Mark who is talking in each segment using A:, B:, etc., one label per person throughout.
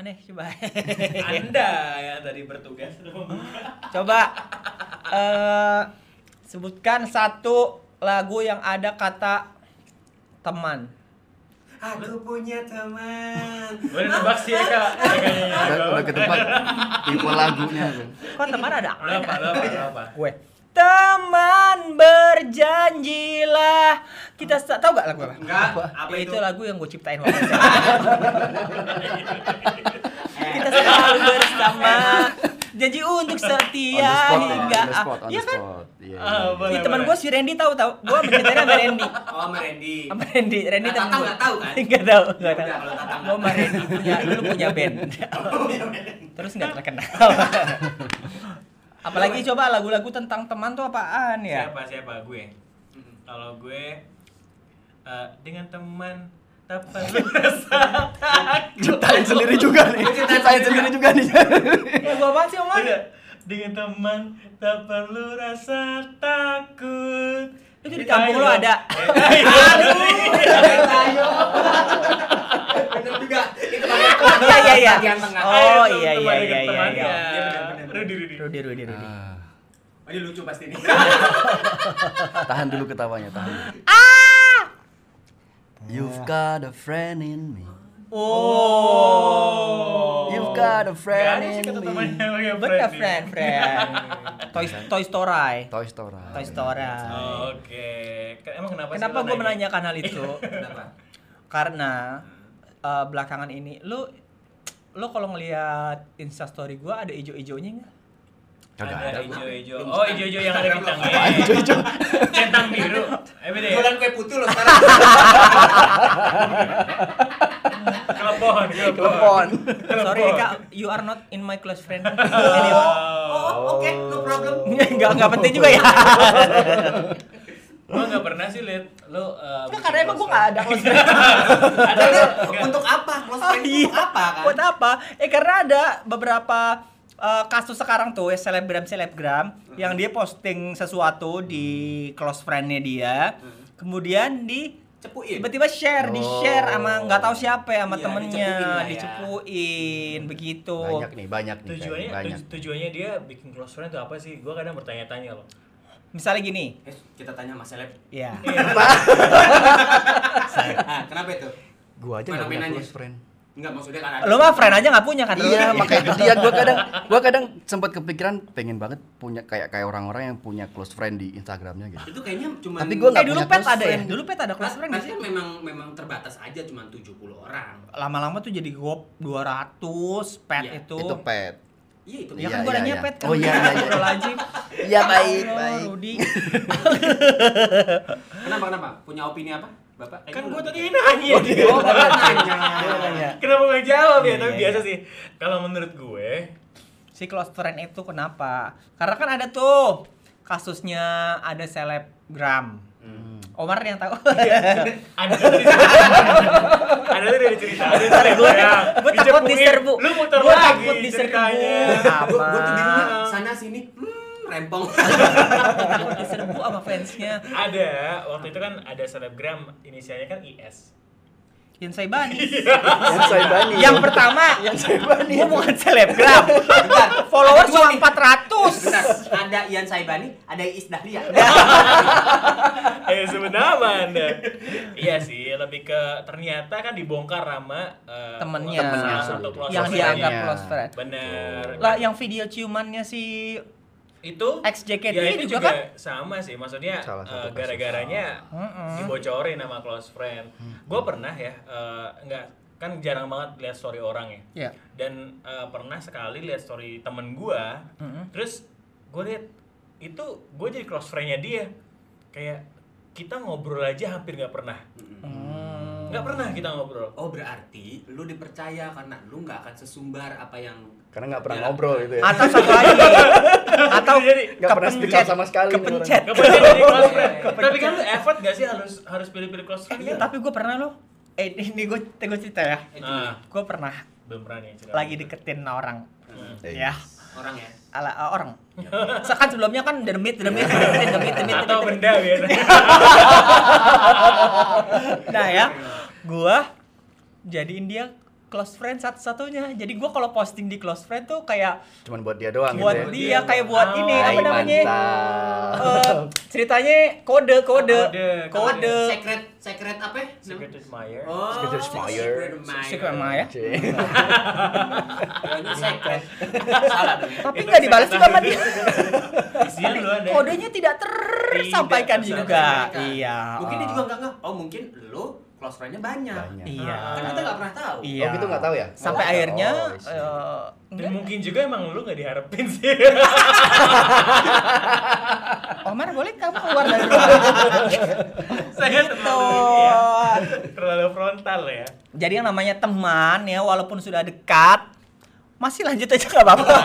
A: deh coba.
B: Anda yang tadi bertugas
A: coba eh sebutkan satu lagu yang ada kata teman.
C: Aku punya teman.
B: Boleh nebak sih Eka
D: Udah, udah ke tempat tipe lagunya tuh.
A: Kok teman ada?
B: Lo apa, lo apa, lo apa
A: Gue. Teman berjanjilah. Kita sa- tahu gak lagu apa?
C: Enggak, apa
A: Ya, itu?
C: itu?
A: lagu yang gue ciptain waktu itu. Kita selalu bersama. Janji untuk
D: On the
A: setia
D: spot, ya, on
A: hingga
D: the spot, on
A: Iya
D: the
A: kan?
D: spot. Iya.
B: Ah,
D: iya,
B: boleh.
D: iya.
A: Ini teman gue si Randy tahu tahu. Gue mencintainya sama Randy.
C: Oh, sama Randy.
A: Sama Randy. Randy
C: Nah, Tatang
A: gua.
C: nggak tahu kan?
A: Nggak tahu,
B: Ya
A: nggak
C: Udah,
A: tahu.
C: kalau Tatang
A: Gue sama
C: nggak tahu.
A: Randy punya dulu punya band. Terus nggak terkenal. Apalagi coba lagu-lagu tentang teman tuh apaan ya?
B: Siapa, siapa, gue Kalau gue eh, Dengan teman Tak perlu
A: Iya.
B: rasa
D: Ciptain sendiri juga nih. Ciptain sendiri juga nih.
A: Ya gua apaan sih Oman?
B: Tidak. Dengan teman tak perlu rasa takut.
A: Itu di kampung lo ada.
C: Bener juga. Itu
A: Iya
B: kan
A: iya iya.
C: Bagian tengah.
A: Oh iya iya iya iya. iya.
C: Iya, benar, benar, benar.
B: Rudi Rudi.
A: Rudi Rudi Rudi.
D: Ah,
B: Oh,
C: Ini lucu pasti nih.
D: Ah. Tahan dulu ketawanya, tahan. dulu.
A: Ah! Iya.
D: You've got a friend in me.
A: Oh.
D: You've got
B: Gak
D: a friend
B: ada sih
D: in
B: kata
D: me.
B: temannya pakai
A: Bener
B: nih.
A: friend friend. Toy Toy Story.
D: Toy Story.
A: Toy Story.
B: Oke. Ke- Emang kenapa? sih
A: Kenapa
B: lo
A: gua
B: nanya?
A: menanyakan hal itu?
C: Kenapa?
A: Karena eh, belakangan ini lu lu kalau ngelihat Insta story gua ada ijo-ijonya enggak?
D: Kagak
B: ada.
D: ada.
B: Ijo-ijo. Oh, ijo-ijo yang ada bintangnya.
C: Apaan
B: Ijo-ijo. Centang biru. Eh, beda ya?
C: Jualan kue putu loh sekarang.
B: Kelepon,
D: Telepon.
A: Sorry Eka, you are not in my close friend.
C: Oh, oke, no problem.
A: Enggak enggak penting juga ya.
B: Gua nggak pernah sih liat lo. eh,
A: Enggak kan karena emang gua enggak ada close friend.
B: Ada
C: Karena
B: nggak?
C: untuk apa?
A: Oh,
C: Close friend
A: iya.
C: untuk apa kan?
A: Buat apa? Eh karena ada beberapa eh, kasus sekarang tuh ya, selebgram selebgram yang dia posting sesuatu di close friendnya dia, kemudian di
C: Cepuin.
A: tiba-tiba share di share sama nggak tahu siapa ya Hmm. sama
C: Iya,
A: temennya
C: dicepuin lah ya.
A: dicepuin begitu
D: Banyak nih, banyak nih.
B: tujuannya
D: Kang, banyak. Iya,
B: tuj- tujuannya dia bikin close friend itu apa sih? Gua kadang bertanya-tanya loh.
A: misalnya gini
C: Eh, kita tanya sama seleb.
A: ya
C: Ah, kenapa itu?
D: Gua aja nggak punya
C: Fenomenanya.
D: close friend.
C: Enggak, maksudnya kan ada.
A: lo mah friend aja nggak punya kan
D: Iya,
A: Lu?
D: makanya itu dia gua kadang gua kadang sempat kepikiran pengen banget punya kayak kayak orang-orang yang punya close friend di Instagramnya gitu.
C: Itu kayaknya cuma
D: Tapi gua
A: eh
D: nggak
A: dulu
D: punya
A: pet
D: close
A: ada ya
D: friend.
A: dulu pet ada close friend gitu. nggak
C: Mas
A: sih
C: kan memang memang terbatas aja cuma 70 orang.
A: lama-lama tuh jadi gop 200 pet
C: Iya,
A: itu
D: Itu pet.
C: Iya itu.
A: Ya
D: Iya,
A: kan gue
D: iya,
A: nanya
D: iya.
A: pet kan
D: Oh, iya, iya, iya.
A: Astagfirullahaladzim.
D: Iya, baik,
A: Allah,
D: baik.
A: Rudi.
C: Kenapa kenapa? Punya opini apa? Bapak?
B: Kan
C: Kayaknya
B: gua
C: lu-
B: tadi
A: Iya,
B: nanya.
D: iya,
C: Oh, Bapak nanya.
B: Kenapa gak jawab ya?
A: Iya,
B: Tapi
A: iya,
B: biasa
A: iya.
B: sih. Kalau menurut gue,
A: Si close friend itu kenapa? Karena kan ada tuh kasusnya ada selebgram.
D: Hmm.
A: Omar yang tahu.
D: Iya.
B: ada tuh ada tuh dari cerita. Ada tuh dari
A: Gue
B: cerita.
A: gue takut
B: Dicepuin.
A: diserbu.
B: Lu muter
A: Gue
B: lagi
A: takut diserbu.
B: ceritanya.
C: Gua gua tuh di rumah
A: Sama.
C: sana sini hmm rempong.
A: Gua takut diserbu sama fansnya.
B: Ada waktu itu kan ada selebgram inisialnya kan IS.
A: Yang saya bani.
D: Yang saya Iya. bani.
A: Yang pertama,
D: yang saya bani.
A: gue bukan selebgram. Follower
C: Ada
A: cuma
C: dua nih.
A: 400.
C: Bentar, ada Ian Saibani, ada Iis Dahlia.
B: Ayo Eh, sebut nama anda. iya sih, lebih ke ternyata kan dibongkar sama eh,
A: Temennya.
B: temennya satu close
A: Yang
B: friend-nya.
A: dianggap
D: Iya.
A: close friend.
B: Bener.
A: Lah yang video ciumannya si
B: itu
A: Ex JKT
B: ya, itu
A: juga
B: juga,
A: kan?
B: sama sih maksudnya
D: Salah
B: eh,
D: satu kasus.
B: gara-garanya
A: Mm-mm.
B: dibocorin sama close friend
D: Hmm.
B: gue pernah ya eh, nggak kan jarang banget lihat story orang ya
A: ya.
B: dan eh, pernah sekali lihat story temen gue
A: Mm-mm.
B: terus gue lihat itu gue jadi close friendnya dia kayak kita ngobrol aja hampir nggak pernah nggak pernah kita ngobrol
C: Oh berarti lu dipercaya karena lu nggak akan sesumbar apa yang
D: Karena nggak pernah
C: Ya.
D: ngobrol gitu ya.
A: atau satu lagi atau
B: Jadi,
D: nggak pernah speak
A: kepencet-
D: up sama sekali gitu nih
A: kepencet
B: kemudian jadi close friend
A: Kepencet.
B: tapi kan lu effort gak sih harus harus pilih-pilih close friend
A: Iya,
B: kan?
A: tapi gue pernah loh eh ini gue gue cerita ya
C: eh,
B: nah
A: gue pernah
B: belum pernah nih cerita.
A: lagi deketin orang
C: Hmm.
D: Eh,
A: ya
C: orang ya.
A: ala eh, orang sekan sebelumnya kan dermit dermit dermit dermit dermit
B: Iya. atau
A: dermit.
B: benda biasanya
A: nah ya gue jadiin dia close friend satu-satunya. Jadi gua kalau posting di close friend tuh kayak
D: Cuman buat dia doang
A: buat
D: gitu.
A: dia
D: ya.
A: kayak buat
B: Oh,
A: ini
D: Hai,
A: apa namanya?
D: mantap.
A: Eh, ceritanya kode kode
B: Kode,
A: kode.
C: Secret, secret apa? ya?
B: Secret admirer.
C: Oh,
D: Secret admirer.
A: Secret Iya, Maya.
D: Cie.
C: Kayaknya secret.
A: kan.
C: Salah dong.
A: Tapi nggak dibalas juga sama dia.
B: Isinya duluan deh.
A: Kodenya tidak tersampaikan
B: Tidak
A: Kan juga.
C: Mereka.
A: Iya.
C: Mungkin dia juga nggak nggak. Oh mungkin lo close friend-nya banyak.
D: Banyak.
A: Iya.
C: Kan kita nggak pernah tahu.
A: Iya.
D: Oh, gitu nggak tahu ya?
A: Sampai
D: Oh,
A: akhirnya
D: oh, I see.
A: eh,
B: Dan
A: enggak.
B: mungkin juga emang lu gak diharapin sih.
A: Omar boleh kamu keluar dari rumah
B: Saya
A: gitu.
B: terlalu, ya, terlalu frontal ya.
A: Jadi yang namanya teman ya walaupun sudah dekat masih lanjut aja nggak apa-apa.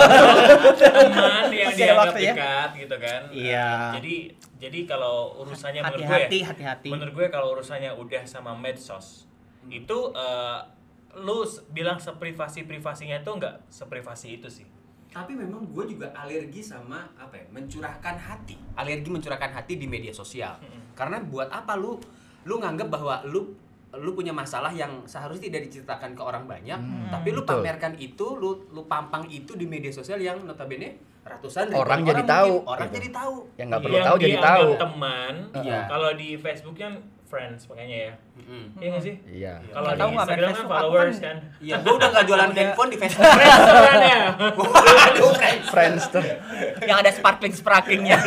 B: Teman yang
A: Masih ada
B: dianggap
A: waktu ya.
B: dekat gitu kan.
A: Iya.
B: Jadi jadi kalau urusannya menurut gue ya,
A: Hati-hati, hati-hati.
B: menurut gue kalau urusannya udah sama medsos itu eh, lu s- bilang seprivasi privasinya tuh nggak seprivasi itu sih
C: Tapi memang gue juga alergi sama apa ya? Mencurahkan hati. Alergi mencurahkan hati di media sosial. Karena buat apa lu lu nganggap bahwa lu lu punya masalah yang seharusnya tidak diceritakan ke orang banyak, tapi
D: Hmm,
C: lu
D: Betul.
C: pamerkan itu, lu lu pampang itu di media sosial yang notabene ratusan ribuan
D: Orang jadi tahu,
C: mungkin. orang
D: gitu.
C: jadi tahu.
D: Yang nggak
B: Iya,
D: perlu
B: Yang
D: tahu jadi
B: dianggap
D: tahu.
B: teman
C: Iya.
B: kalau di Facebook kan friends makanya ya
C: Mm-mm.
B: iya nggak sih
D: Iya.
B: kalau
A: Hmm. Nggak
B: di
A: tahu nggak main
B: Instagram kan
A: Facebook, aku
B: followers
A: kan-
B: kan
C: Iya, gue udah nggak jualan handphone di Facebook.
B: friends beneran ya
C: Waduh, friends.
D: Friendster.
A: yang ada sparkling sparklingnya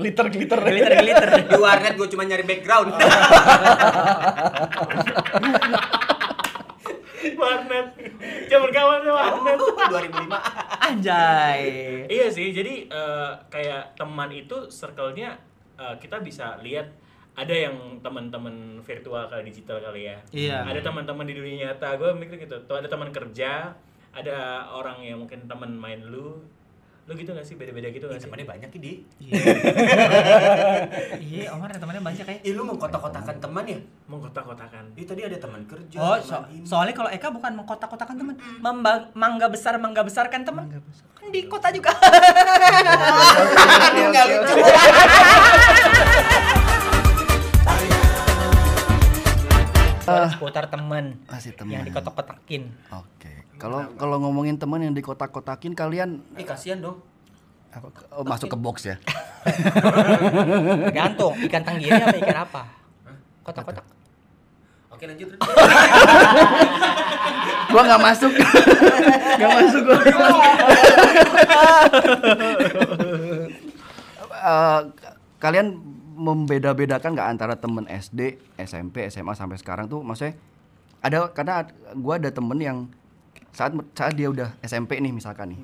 D: glitter glitter.
A: glitter glitter.
C: Di warnet gue cuma nyari background.
D: Oh.
B: warnet zaman kawan tuh warnet
C: 2005.
A: Anjay.
B: Iya sih, jadi eh, kayak teman itu circle-nya eh, kita bisa lihat ada yang teman-teman virtual kali digital kali ya.
A: Iya.
B: Ada teman-teman di dunia nyata. Gue mikir gitu. Tuh ada teman kerja, ada orang yang mungkin teman main lu. Lu gitu gak sih beda-beda gitu gak sih?
C: Temennya banyak di.
A: Iya, Omar ada temannya banyak kayak.
C: Ih, lu mengkotak-kotakan teman ya?
B: Mengkotak-kotakan.
C: Ih, Iya, tadi ada teman kerja.
A: Oh, so-
C: teman ini.
A: soalnya kalau Eka bukan mengkotak-kotakan teman, Memba- mangga besar mangga besarkan teman. Kan di kota juga.
C: Aduh, nggak lucu.
A: Seputar teman
D: Masih teman.
A: yang dikotak-kotakin.
D: Oke. Kalau kalau ngomongin teman yang dikotak-kotakin kalian
C: Ih, kasihan dong.
D: apa, oh, masuk ke box ya?
A: Tergantung ikan tenggiri apa ikan apa. Kotak-kotak.
C: Oke, lanjut.
D: gua nggak masuk. Nggak masuk gua. Eh, kalian membeda-bedakan nggak antara temen SD, SMP, SMA sampai sekarang tuh maksudnya ada karena ad- gua ada temen yang saat saat dia udah SMP nih misalkan nih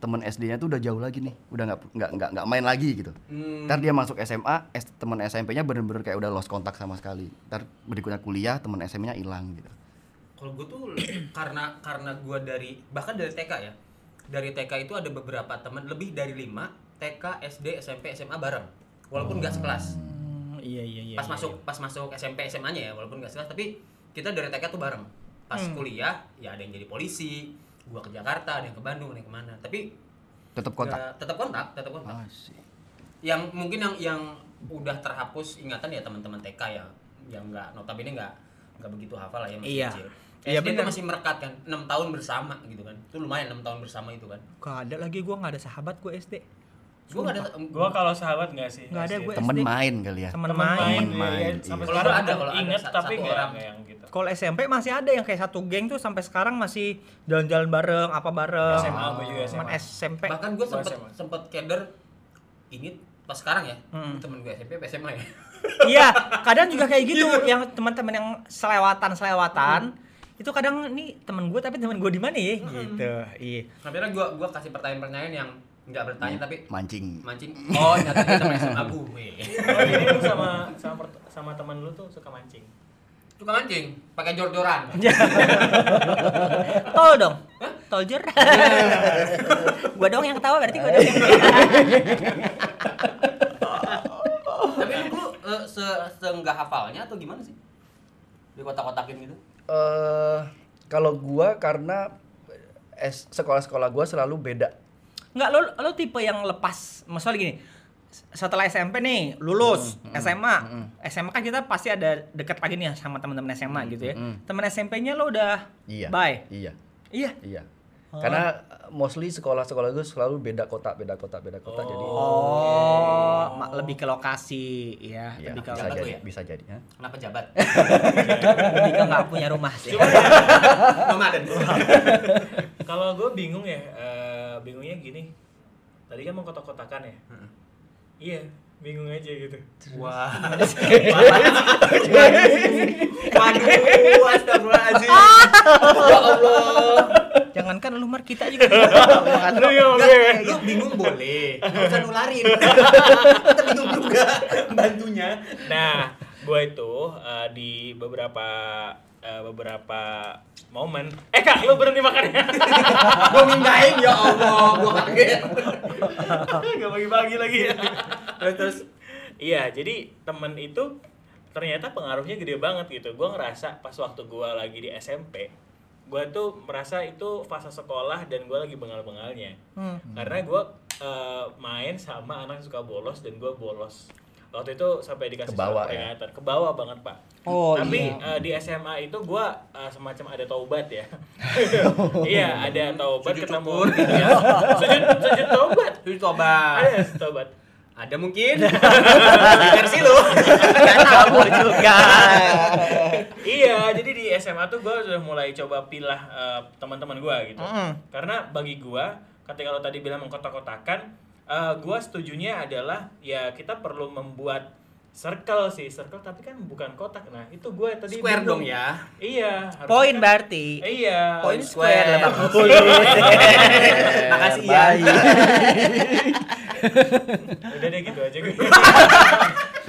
D: temen SD-nya tuh udah jauh lagi nih udah nggak nggak nggak nggak main lagi gitu
C: Hmm.
D: ntar dia masuk SMA S- temen SMP-nya bener-bener kayak udah lost kontak sama sekali ntar berikutnya kuliah temen SMP-nya hilang gitu
C: Kalau gue tuh karena karena gue dari bahkan dari TK ya. Dari TK itu ada beberapa teman lebih dari 5 TK, SD, SMP, SMA bareng. Walaupun nggak sekelas.
A: iya iya iya.
C: pas masuk pas masuk SMP SMA-nya ya walaupun nggak sekelas tapi kita dari TK tuh bareng pas kuliah ya ada yang jadi polisi gua ke Jakarta ada yang ke Bandung ada yang kemana tapi
D: tetap kontak
C: ya, tetap kontak tetap kontak
D: Ah, sih.
C: yang mungkin yang yang udah terhapus ingatan ya teman-teman TK ya yang nggak notabene nggak nggak begitu hafal lah ya masih
A: Iya.
C: kecil
A: Iya,
C: SD tuh
A: bener.
C: masih merekat kan 6 tahun bersama gitu kan itu lumayan 6 tahun bersama itu kan
A: Gak ada lagi gue gak ada sahabat gue SD.
C: gua nggak ada
B: Gua kalau sahabat gak sih?
A: Nggak ada,
B: Masih.
A: gue-
D: temen
A: SD.
D: main kali ya
A: Temen
B: Temen
A: main.
B: ya
D: Temen main,
B: kan? Sampai
D: iya.
B: sekarang
C: Kalau ada,
B: ada,
C: kalau ada
B: inget
C: satu
B: tapi nggak
C: orang.
B: nggak yang gitu.
A: Kalau SMP masih ada yang kayak satu geng tuh sampai sekarang masih jalan-jalan bareng, apa bareng.
B: SMA, gua juga
A: Cuman
B: SMA.
A: SMP.
C: bahkan gue
B: Gua
C: sempet
B: SMA.
C: sempet keder ini pas sekarang ya
A: Hmm.
C: temen gue SMP apa SMA ya
A: Iya, kadang juga kayak gitu
D: Iya.
A: yang teman-teman yang selewatan-selewatan
D: Hmm.
A: itu kadang nih temen gue tapi temen gue di mana ya gitu. Iya.
C: Akhirnya kan gua gua kasih pertanyaan-pertanyaan yang nggak bertanya tapi
D: mancing
C: mancing. Oh, ternyata dia teman SMA gue.
B: Oh, jadi lu sama sama, pert- sama teman lu tuh suka mancing.
C: Suka mancing, pakai jor-joran.
A: Tol dong. Toljur.
D: Iya,
A: gua doang yang ketawa berarti gua doang. yang-
C: tapi lu, lu eh, se se nggak hafalnya atau gimana sih? Di kotak-kotakin gitu.
D: eh kalau gua karena es, sekolah-sekolah gua selalu beda.
A: Enggak lo lo tipe yang lepas. Maksudnya gini, setelah SMP nih lulus
D: Hmm,
A: SMA SMA kan kita pasti ada deket lagi nih ya sama teman-teman SMA gitu ya
D: mm.
A: teman SMP-nya lo udah
D: Iya.
A: bye
D: Iya.
A: iya
D: Iya. Karena uh, mostly sekolah-sekolah gue selalu beda kota, beda kota, beda kota. Jadi
A: oh ma- lebih ke lokasi ya,
D: ya,
A: lebih ke
D: bisa
C: Jalan
D: jadi,
C: tuh ya?
D: bisa jadi. Hah?
C: Kenapa jabat?
A: lebih ke nggak punya rumah sih
B: Cuma ya,
C: Nomaden.
B: kalau gue bingung ya, eh, bingungnya gini. Tadi kan mau kotak-kotakan ya. Iya, bingung aja gitu.
C: Wah. Waduh, astagfirullahaladzim. Ya Allah.
A: jangankan lu mar kita juga
B: Lu ya, oke.
C: Enggak, lu bingung boleh. Nggak usah nularin. Kita bingung juga bantunya.
B: Nah, gue itu eh, di beberapa eh, beberapa momen. Eh kak, lu berhenti ya? makannya.
C: Gua mindahin ya Allah, gua kaget.
B: Gak bagi-bagi lagi ya. terus, terus. Iya, jadi temen itu ternyata pengaruhnya gede banget gitu. Gue ngerasa pas waktu gue lagi di SMP, gue tuh merasa itu fase sekolah dan gue lagi bengal-bengalnya.
A: Hmm.
B: Karena gue main sama anak yang suka bolos dan gue bolos. Waktu itu sampai dikasih
D: Kebawa
B: surat
D: ya?
B: peringatan. Kebawa banget pak.
A: Oh,
B: Tapi
A: iya.
B: eh, di SMA itu gue semacam ada taubat ya. iya ada taubat
C: Sujud
B: ketemu.
C: syukur gitu
B: ya. sujud, sujud taubat.
C: Lu coba.
B: Ada tobat.
C: Ada mungkin. Di versi lu.
A: nggak tahu juga
B: iya, jadi di SMA tuh gue sudah mulai coba pilah eh, teman-teman gue gitu.
A: Mm.
B: Karena bagi gue, ketika lo tadi bilang mengkotak-kotakan, eh, gue setujunya adalah ya kita perlu membuat circle sih, circle tapi kan bukan kotak. Nah itu gue tadi
C: Square
B: bingung.
C: dong ya.
B: Iya. harusnya
A: poin
B: kan-
A: berarti
B: Iya.
D: Oh,
A: poin
C: Poin
A: square lah
C: square.
A: Bang.
D: iya.
C: Makasih ya.
B: Udah deh gitu aja.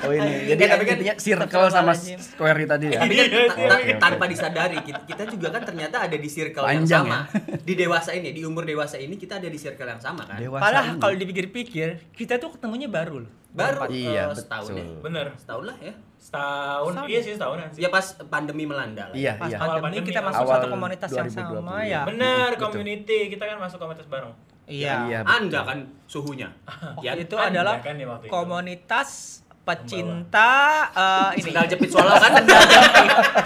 D: Oh ini. Jadi
C: Eh, tapi kan-
D: intinya circle sama
A: Astagfirullahaladzim.
D: square tadi ya.
C: Tapi
B: Iya,
C: kan ta-
B: iya,
C: ta-
D: iya.
C: tanpa disadari kita, kita juga kan ternyata ada di circle
D: Panjang ya.
C: yang sama. Di dewasa ini, di umur dewasa ini kita ada di circle yang sama kan.
D: Dewasa
A: padahal
D: ini.
A: kalau dipikir-pikir kita tuh ketemunya baru loh
C: Baru
D: Iya,
C: eh, setahun
D: betul.
C: ya.
B: Bener.
C: Setahun lah ya.
B: Setahun.
A: Setahun.
B: Iya sih setahunan sih.
C: Ya pas pandemi melanda lah.
D: Iya,
C: ya.
A: pas
D: iya.
A: pandemi,
B: Awal pandemi,
A: kita masuk
D: awal
A: satu komunitas yang sama
D: 2020.
A: ya
B: Bener,
D: Betul.
B: community. Kita kan masuk komunitas bareng.
A: iya
D: Iya.
C: Anda kan suhunya.
A: Waktu
C: Ya,
A: itu
B: Anda
A: adalah
B: kan ya waktu itu.
A: komunitas pecinta eh, ini Iya.
C: sendal jepit soalnya kan.
B: Sendal jepit.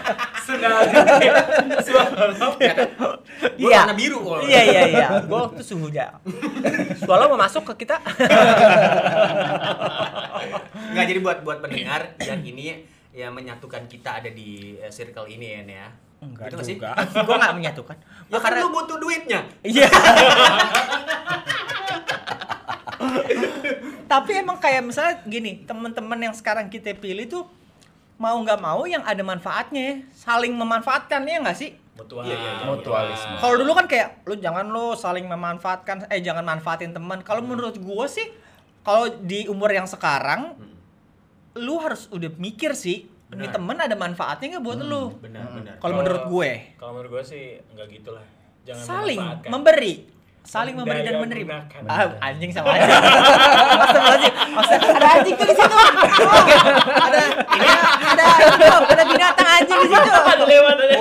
B: Semalam.
C: Ya, Gua
A: Iya.
C: warna biru kalau.
A: iya iya iya gue waktu suhunya soalnya mau masuk ke kita
C: Nggak jadi buat buat pendengar yang ini ya menyatukan kita ada di eh, circle ini ya. Nen, ya. Gitu nggak sih?
A: gue nggak menyatukan
C: Ya karena lu butuh duitnya.
A: iya tapi emang kayak misalnya gini teman-teman yang sekarang kita pilih tuh mau nggak mau yang ada manfaatnya saling memanfaatkan ya nggak sih
B: Mutual.
C: Iya, iya, iya.
D: Mutualisme.
A: Kalau dulu kan kayak lu jangan lu saling memanfaatkan eh jangan manfaatin teman. Kalau menurut gua sih kalau di umur yang sekarang lu harus udah mikir sih ini
C: Benar.
A: teman ada manfaatnya nggak buat lu.
C: Benar, benar.
A: Kalau menurut gue
B: Kalau menurut gue sih nggak gitulah. Jangan
A: saling
B: memanfaatkan.
A: memberi saling memberi dan
B: Mendaya
A: menerima.
B: gunakan.
A: Ah, anjing sama anjing. Astagfirullahaladzim. Astagfirullahaladzim. Ada anjing tuh di situ. Oke. Ada ada ada itu, ada binatang anjing di situ.
B: Ada lewat ada.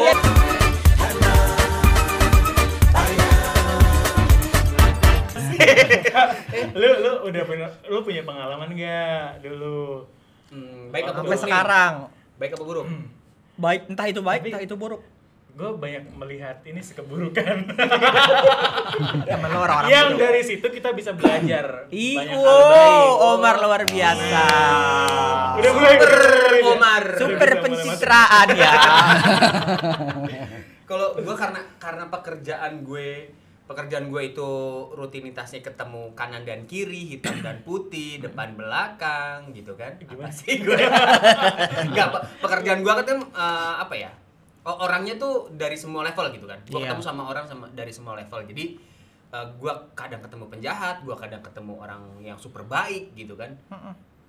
A: Oh.
B: lu lu udah punya lu punya pengalaman gak dulu
C: Hmm, baik apa buruk?
A: Sampai
C: nih?
A: sekarang
C: Baik apa buruk?
A: baik entah itu baik
B: Tapi-
A: entah itu buruk.
B: gue banyak melihat ini sekeburukan
A: Temen lu orang-orang
B: yang
A: buruk.
B: dari situ kita bisa belajar
A: Ih,
B: banyak hal baik.
A: wow, Omar luar biasa.
B: udah mulai
C: Super Omar.
A: Super
B: Udah mulai
A: pencitraan ya.
C: Kalau gue karena karena pekerjaan gue pekerjaan gue itu rutinitasnya ketemu kanan dan kiri, hitam dan putih, depan belakang gitu kan. Apa sih gue? Enggak, pekerjaan gue kan eh, apa ya? o- Orangnya tuh dari semua level gitu kan. Gue
A: Iya.
C: ketemu sama orang sama dari semua level. Jadi eh, gue kadang ketemu penjahat, gue kadang ketemu orang yang super baik gitu kan.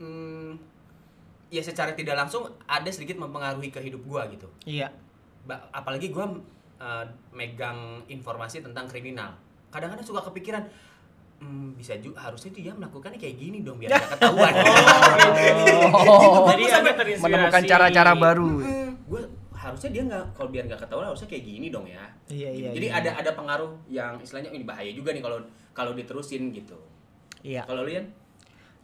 C: Hmm, ya secara tidak langsung ada sedikit mempengaruhi ke hidup gue gitu.
A: Iya.
C: Ba- apalagi gue megang informasi tentang kriminal kadang-kadang suka kepikiran "Hmm, bisa juga harusnya dia melakukannya kayak gini dong biar nggak ketahuan
B: Oh.
D: Oh.
B: jadi ada terinspirasi
D: menemukan cara-cara baru.
C: gue Hmm, harusnya dia nggak kalau biar nggak ketahuan harusnya kayak gini dong ya
A: Iya, iya,
C: jadi
A: iya.
C: ada ada "Oh, pengaruh yang istilahnya ini bahaya juga nih kalau kalau diterusin gitu
A: Iya.
C: kalau lian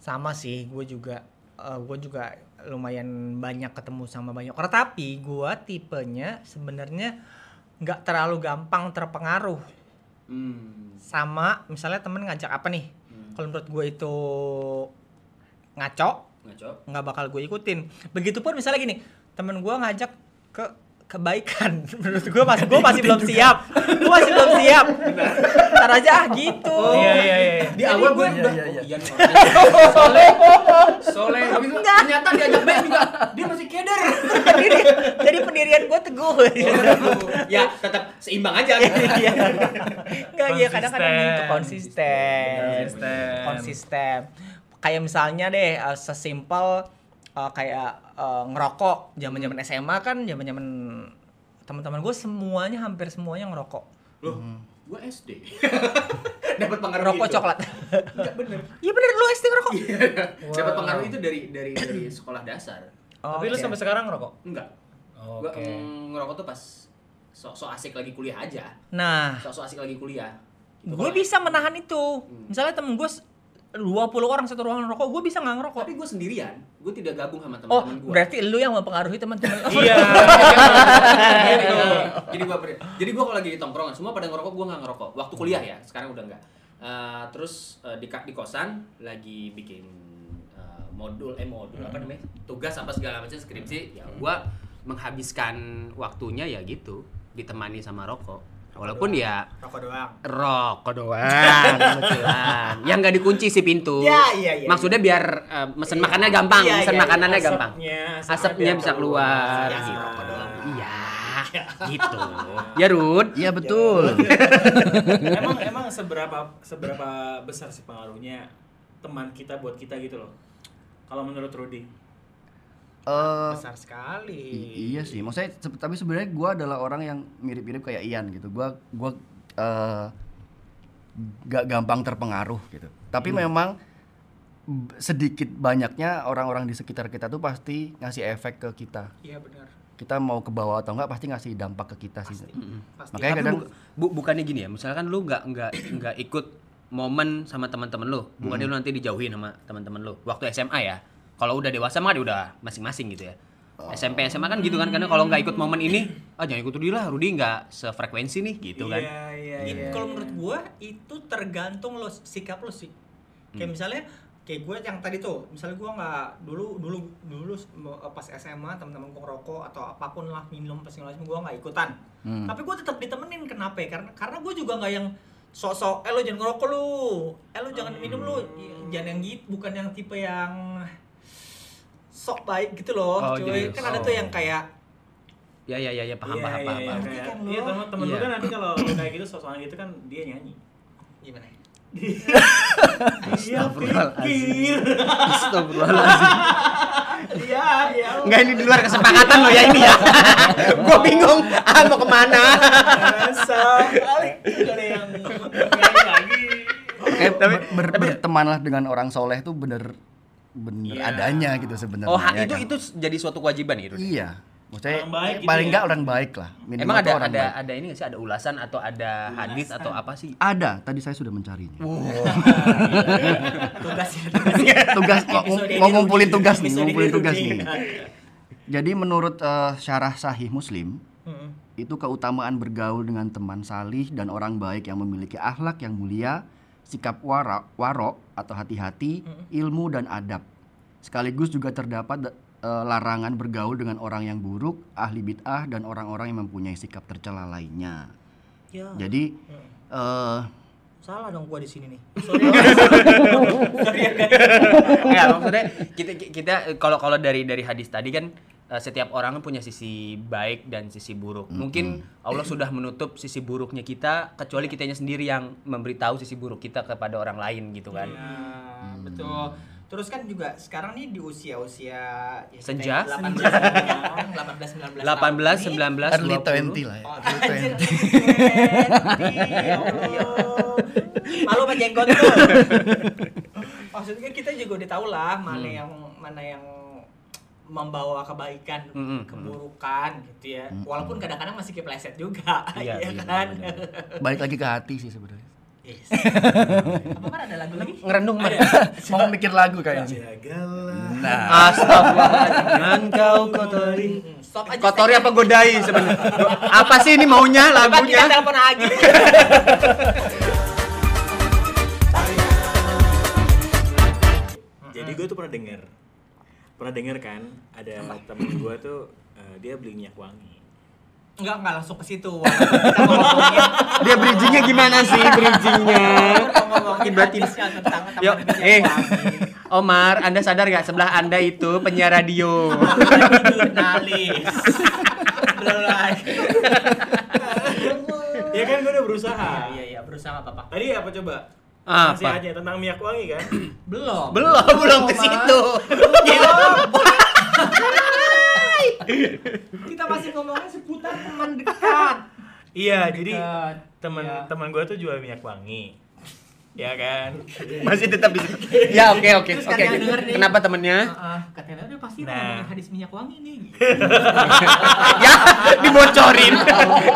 A: sama sih gue juga eh, gue juga lumayan banyak ketemu sama banyak orang tapi gue tipenya sebenarnya nggak terlalu gampang terpengaruh
C: Hmm.
A: sama misalnya temen ngajak apa nih
B: Hmm.
A: kalau menurut gue itu ngaco
C: Ngaco.
A: nggak bakal gue ikutin begitupun misalnya gini temen gue ngajak ke kebaikan menurut gue masih gue masih belum siap gue masih belum siap ntar aja ah, gitu
B: Iya iya iya.
C: Di awal gue
D: Iya,
C: udah
D: iya, iya.
C: oh, iya nih orangnya. soleh soleh habis itu ternyata diajak main juga dia masih keder.
A: jadi, jadi pendirian gue teguh
D: Iya.
B: Oh,
C: ya tetap seimbang aja.
A: Iya. nggak iya kadang-kadang gitu
B: Konsisten.
A: konsisten
B: Konsisten.
A: konsisten kayak misalnya deh eh, sesimpel eh, kayak eh, ngerokok zaman-zaman
B: Hmm.
A: SMA kan zaman-zaman teman-teman gue semuanya hampir semuanya ngerokok
C: Loh, gue SD. Dapat
B: Iya.
C: pengaruh
A: rokok
C: gitu.
A: coklat
C: Enggak bener.
A: iya bener lu SD ngerokok
C: Dapat pengaruh itu dari dari dari sekolah dasar.
A: Oh,
B: Tapi lu
A: oke.
B: sampai sekarang ngerokok?
C: Enggak. Gue ngerokok tuh pas sok-sok asik lagi kuliah aja.
A: nah
C: Sok-sok asik lagi kuliah. Gitu
A: gue
C: kalau-
A: bisa menahan itu
B: Hmm.
A: misalnya temen gue 20 orang satu ruangan rokok gue bisa nggak ngerokok
C: Tapi gue sendirian. Gue tidak gabung sama
A: oh
C: teman-teman gue.
A: berarti lu yang mempengaruhi teman-teman lu.
B: Iya.
C: Gitu. jadi gua ber- jadi gua kalau lagi di tongkrongan semua pada ngerokok gua nggak ngerokok waktu kuliah ya sekarang udah nggak Eh, terus eh, di ka- di kosan lagi bikin eh, modul eh modul apa
A: Hmm.
C: namanya tugas apa segala macam skripsi ya gua menghabiskan waktunya ya gitu ditemani sama rokok walaupun ya
A: rokok doang
C: rokok doang kebetulan. yang nggak dikunci sih pintu
A: Ya, iya, iya,
C: maksudnya biar eh, mesen makanannya gampang
A: Iya,
C: mesen
A: iya,
C: makanannya
B: asapnya,
C: gampang
B: asapnya
C: asapnya
B: biar
C: bisa keluar
B: keluar.
C: Iya,
B: Iya,
C: rokok doang. iya gitu ya Rud
D: Iya betul.
B: emang emang seberapa seberapa besar sih pengaruhnya teman kita buat kita gitu loh. Kalau menurut Rudy?
D: Eh,
A: besar sekali
D: I- iya sih, maksudnya se- tapi sebenarnya gue adalah orang yang mirip-mirip kayak Ian gitu. Gue gua eh, gak gampang terpengaruh gitu. Tapi memang b- sedikit banyaknya orang-orang di sekitar kita tuh pasti ngasih efek ke kita.
A: iya benar
D: Kita mau ke bawah atau enggak pasti ngasih dampak ke kita sih.
A: pasti
D: Makanya kadang
C: bu- bu- bukannya gini ya misalkan lu nggak nggak nggak ikut momen sama teman-teman lu bukannya lu nanti dijauhin sama teman-teman lu waktu SMA ya kalau udah dewasa mah udah masing-masing gitu ya SMP SMA kan gitu kan karena kalau nggak ikut momen ini ah jangan ikut Rudy lah Rudy nggak sefrekuensi nih gitu kan
B: Iya iya
A: It-
B: iya.
A: kalau menurut gua itu tergantung lo sikap lo sih kayak misalnya kayak gue yang tadi tuh misalnya gua nggak dulu dulu dulu s- mo- eh, pas SMA teman-teman gue ngerokok atau apapun lah minum pas segala macam gue nggak ikutan
D: Hmm.
A: tapi gue tetap ditemenin kenapa ya? karena karena gue juga nggak yang sok-sok eh lo jangan ngerokok lu eh lo jangan minum lu I- jangan yang gitu bukan yang tipe yang sok baik gitu loh
C: Oh,
A: cuy
C: jadi-
A: kan ada tuh
C: oh.
A: yang kayak
C: ya ya ya ya paham
B: Iya,
C: paham
B: iya,
C: paham,
B: iya,
C: paham.
A: Ngerti
B: kayak-
A: kan lo?
B: Iya, teman temen lu
D: Iya.
B: kan nanti kalau kayak gitu sosokan gitu kan dia nyanyi. Iya,
A: gimana ya?
B: Dia
D: Astagfirullahaladzim.
B: pikir.
C: Astagfirullahaladzim.
B: Iya, iya.
C: Nggak ini di luar kesepakatan lo ya ini ya. Gue bingung, ah mau kemana?
B: Sekali juga ada yang nyanyi lagi.
D: Kayak ber- ber- bertemanlah dengan orang soleh tuh bener bener
B: Iya.
D: adanya gitu sebenarnya.
C: Oh, ha-
D: ya
C: itu
D: kan?
C: itu jadi suatu kewajiban ya, Rudy?
D: Iya. Maksudnya
B: Orang baik gitu
D: paling
B: ya.
D: enggak orang baik lah. Minimal
C: Emang
D: tuh
C: ada
D: orang
C: ada
D: baik.
C: ada ini nggak sih ada ulasan atau ada hadis atau apa sih?
D: Ada, tadi saya sudah mencarinya.
A: tugasnya tugasnya
D: Tugas mau,
A: Episode ini
D: mau ngumpulin
A: Rudy.
D: tugas nih,
A: Episode ini
D: ngumpulin
A: Rudy.
D: tugas nih. Jadi menurut eh, syarah Sahih Muslim,
A: Mm-mm.
D: itu keutamaan bergaul dengan teman salih dan orang baik yang memiliki akhlak yang mulia, sikap wara, warok atau hati-hati, ilmu dan adab. Sekaligus juga terdapat eh, larangan bergaul dengan orang yang buruk, ahli bid'ah dan orang-orang yang mempunyai sikap tercela lainnya.
A: ya
D: Jadi eh
A: salah dong gua di sini nih
C: Enggak, maksudnya kita kita kalau kalau dari dari hadis tadi kan eh, setiap orang punya sisi baik dan sisi buruk. Mungkin Allah sudah menutup sisi buruknya kita kecuali kitanya sendiri yang memberitahu sisi buruk kita kepada orang lain gitu kan.
A: Iya, betul. Terus kan juga sekarang nih di usia-usia ya,
C: Senja.
A: 18 19
C: 18 19
D: early 20
C: 20.
D: lah ya.
A: Oh,
D: Early
A: anjir.
D: 20.
A: Ya Allah. Malu sama jenggot lu. Maksudnya kita juga udah tahu lah mana
D: Hmm.
A: yang mana yang membawa kebaikan,
D: Hmm,
C: Mm-mm,
A: keburukan gitu ya. Walaupun kadang-kadang masih kepleset juga,
C: Iya,
A: ya
C: iya,
A: kan?
C: benar-benar.
D: Balik lagi ke hati sih sebenarnya.
A: Yes. Apa Mar, kan ada lagu lagi?
D: Ngerendung Mar.
C: Iya.
D: Mau mikir lagu kayaknya.
B: Jagalah.
D: Nah,
C: Astagfirullahaladzim. Jangan kau kotori.
A: Hmm, Stop aja.
C: Kotori
A: segmen.
C: apa godai sebenarnya? Apa sih ini maunya
A: Coba kita
C: lagunya?
A: telepon lagi.
B: Jadi gue tuh pernah denger pernah denger kan ada temen gue tuh eh, dia beli minyak wangi.
A: Enggak, enggak langsung ke situ. Wah, Kita mau ngomongin
C: Dia Ya, bridgingnya gimana sih bridgingnya?
A: mau ngomongin
C: Tiba-tiba.
A: artisnya tentang teman
C: Yuk,
A: minyak
C: eh.
A: wangi.
C: Omar, Anda sadar gak sebelah Anda itu penyiar radio?
A: Lagi jurnalis. Belum lagi.
B: Ya kan gue udah berusaha.
A: Iya, iya, berusaha enggak apa-apa.
B: Tadi apa coba?
C: Apa?
B: Nasihatnya tentang minyak wangi kan?
A: Belum.
C: belum, belum ke situ.
A: Kita masih ngomongin seputar teman dekat.
B: Iya, jadi
A: Dekat.
B: teman
A: Iya.
B: teman gue tuh jual minyak wangi. Ya kan?
C: Masih tetap di situ. Ya, oke, oke.
A: Terus
C: Oke.
A: kalian denger nih.
C: Kenapa temennya?
A: Heeh, katanya udah pasti
B: Nah.
A: ngomongin hadis minyak wangi nih.
C: ya, dibocorin.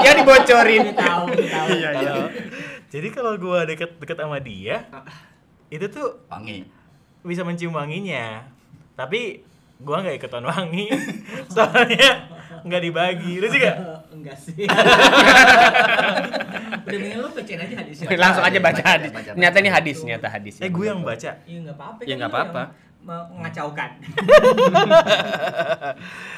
C: ya dibocorin.
A: Dia tahu, dia tahu.
C: Iya, iya.
B: Jadi kalau gue deket deket sama dia, itu tuh
D: wangi.
B: bisa mencium wanginya. Tapi gue nggak ikutan wangi, soalnya nggak dibagi. Lu juga?
A: Eh, Enggak sih. Udah mendingan lu bacain aja ya. hadisnya.
C: Langsung aja
D: Baca,
C: baca
D: baca,
C: hadis.
D: baca.
C: Ternyata ini hadis, ternyata hadis.
B: Eh gue yang baca.
A: Iya enggak apa-apa. kan
C: Ya, nggak
A: lu yang
C: apa-apa.
A: me- Mengacaukan.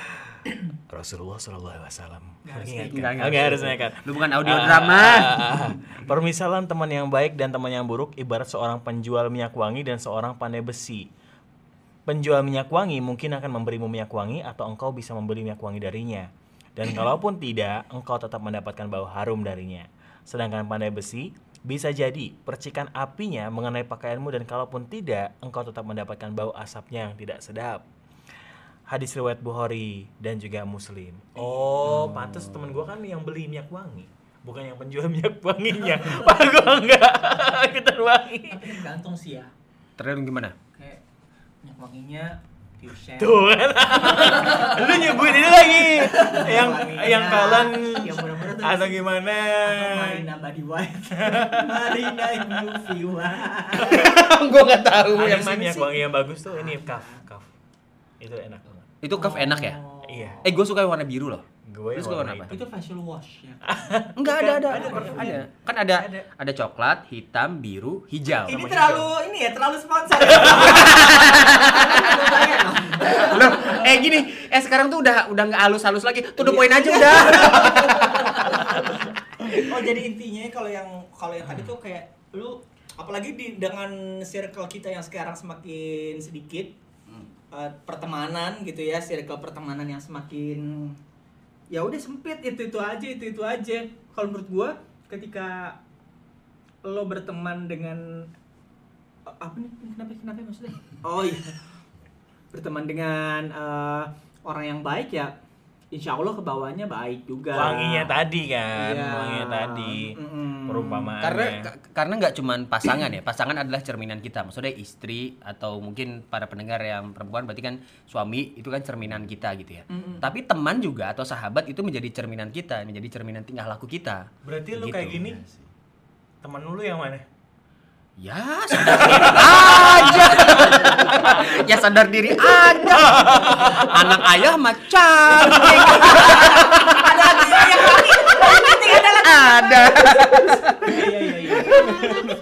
B: Rasulullah Shallallahu Alaihi Wasallam.
A: Nggak harus
B: Mengingatkan.
C: Enggak, enggak.
B: Oh, nggak harus naikkan.
C: Lu bukan audio
B: Ah,
C: drama.
B: ah, ah. Permisalan teman yang baik dan teman yang buruk ibarat seorang penjual minyak wangi dan seorang pandai besi. Penjual minyak wangi mungkin akan memberimu minyak wangi atau engkau bisa membeli minyak wangi darinya. Dan kalaupun tidak, engkau tetap mendapatkan bau harum darinya. Sedangkan pandai besi bisa jadi percikan apinya mengenai pakaianmu dan kalaupun tidak, engkau tetap mendapatkan bau asapnya yang tidak sedap. Hadis riwayat Bukhari dan juga Muslim. Oh, pantas temen gua kan yang beli minyak wangi, bukan yang penjual minyak wanginya. Pak gua enggak ikutan wangi.
A: Tapi tergantung sih ya.
C: Terus gimana?
A: Kayak minyak wanginya fuchsia.
B: Tuh kan. Lu nyebut ini lagi. yang
A: wanginya,
B: yang kalan
A: yang murah-murah tuh.
B: atau gimana?
A: Atau Marina Body White. Marina Movie White.
C: Gue nggak tahu
B: Ada
C: yang
B: sih
C: mana
B: minyak
C: sih.
B: wangi yang bagus tuh ini kaf kaf. Itu enak banget.
C: Itu cuff enak ya?
B: Iya.
C: Eh, gue suka yang warna biru loh.
B: Gue
C: Terus
B: yang
C: gua
B: warna
C: kenapa?
B: itu.
A: Oh. Itu facial wash ya.
C: Ah, Enggak ada ada
B: Ada
C: ada,
B: parfumnya.
C: ada. Kan ada,
B: Ada.
C: ada coklat, hitam, biru, hijau.
A: Ini
B: Sama
A: terlalu ini ya, terlalu sponsor. ya. Terlalu banyak loh.
C: Loh, eh gini, eh sekarang tuh udah udah nggak halus-halus lagi. Tuh udah poin aja udah.
A: Oh, jadi intinya kalau yang kalau yang tadi tuh kayak lu apalagi di dengan circle kita yang sekarang semakin sedikit eh, pertemanan gitu ya, circle pertemanan yang semakin ya udah sempit itu-itu aja, itu-itu aja. Kalau menurut gua ketika lo berteman dengan eh, apa nih? Kenapa kenapa maksudnya? Oh iya. berteman dengan eh, orang yang baik ya Insya Allah kebawahnya baik juga.
B: Wanginya tadi kan,
A: Iya.
B: wanginya tadi.
A: Mm-mm.
B: Perumpamaan.
C: karena ka- karena nggak cuman pasangan ya. Pasangan adalah cerminan kita. Maksudnya istri atau mungkin para pendengar yang perempuan berarti kan suami itu kan cerminan kita gitu ya.
A: Hmm.
C: Tapi teman juga atau sahabat itu menjadi cerminan kita, menjadi cerminan tingkah laku kita.
B: Berarti lu
C: Gitu.
B: kayak gini, temen lu yang mana?
C: Ya, sadar diri aja. ya sadar diri aja. Anak ayah macam
A: ada ada yang lagi. Yang penting adalah
C: ada.
A: iya iya iya.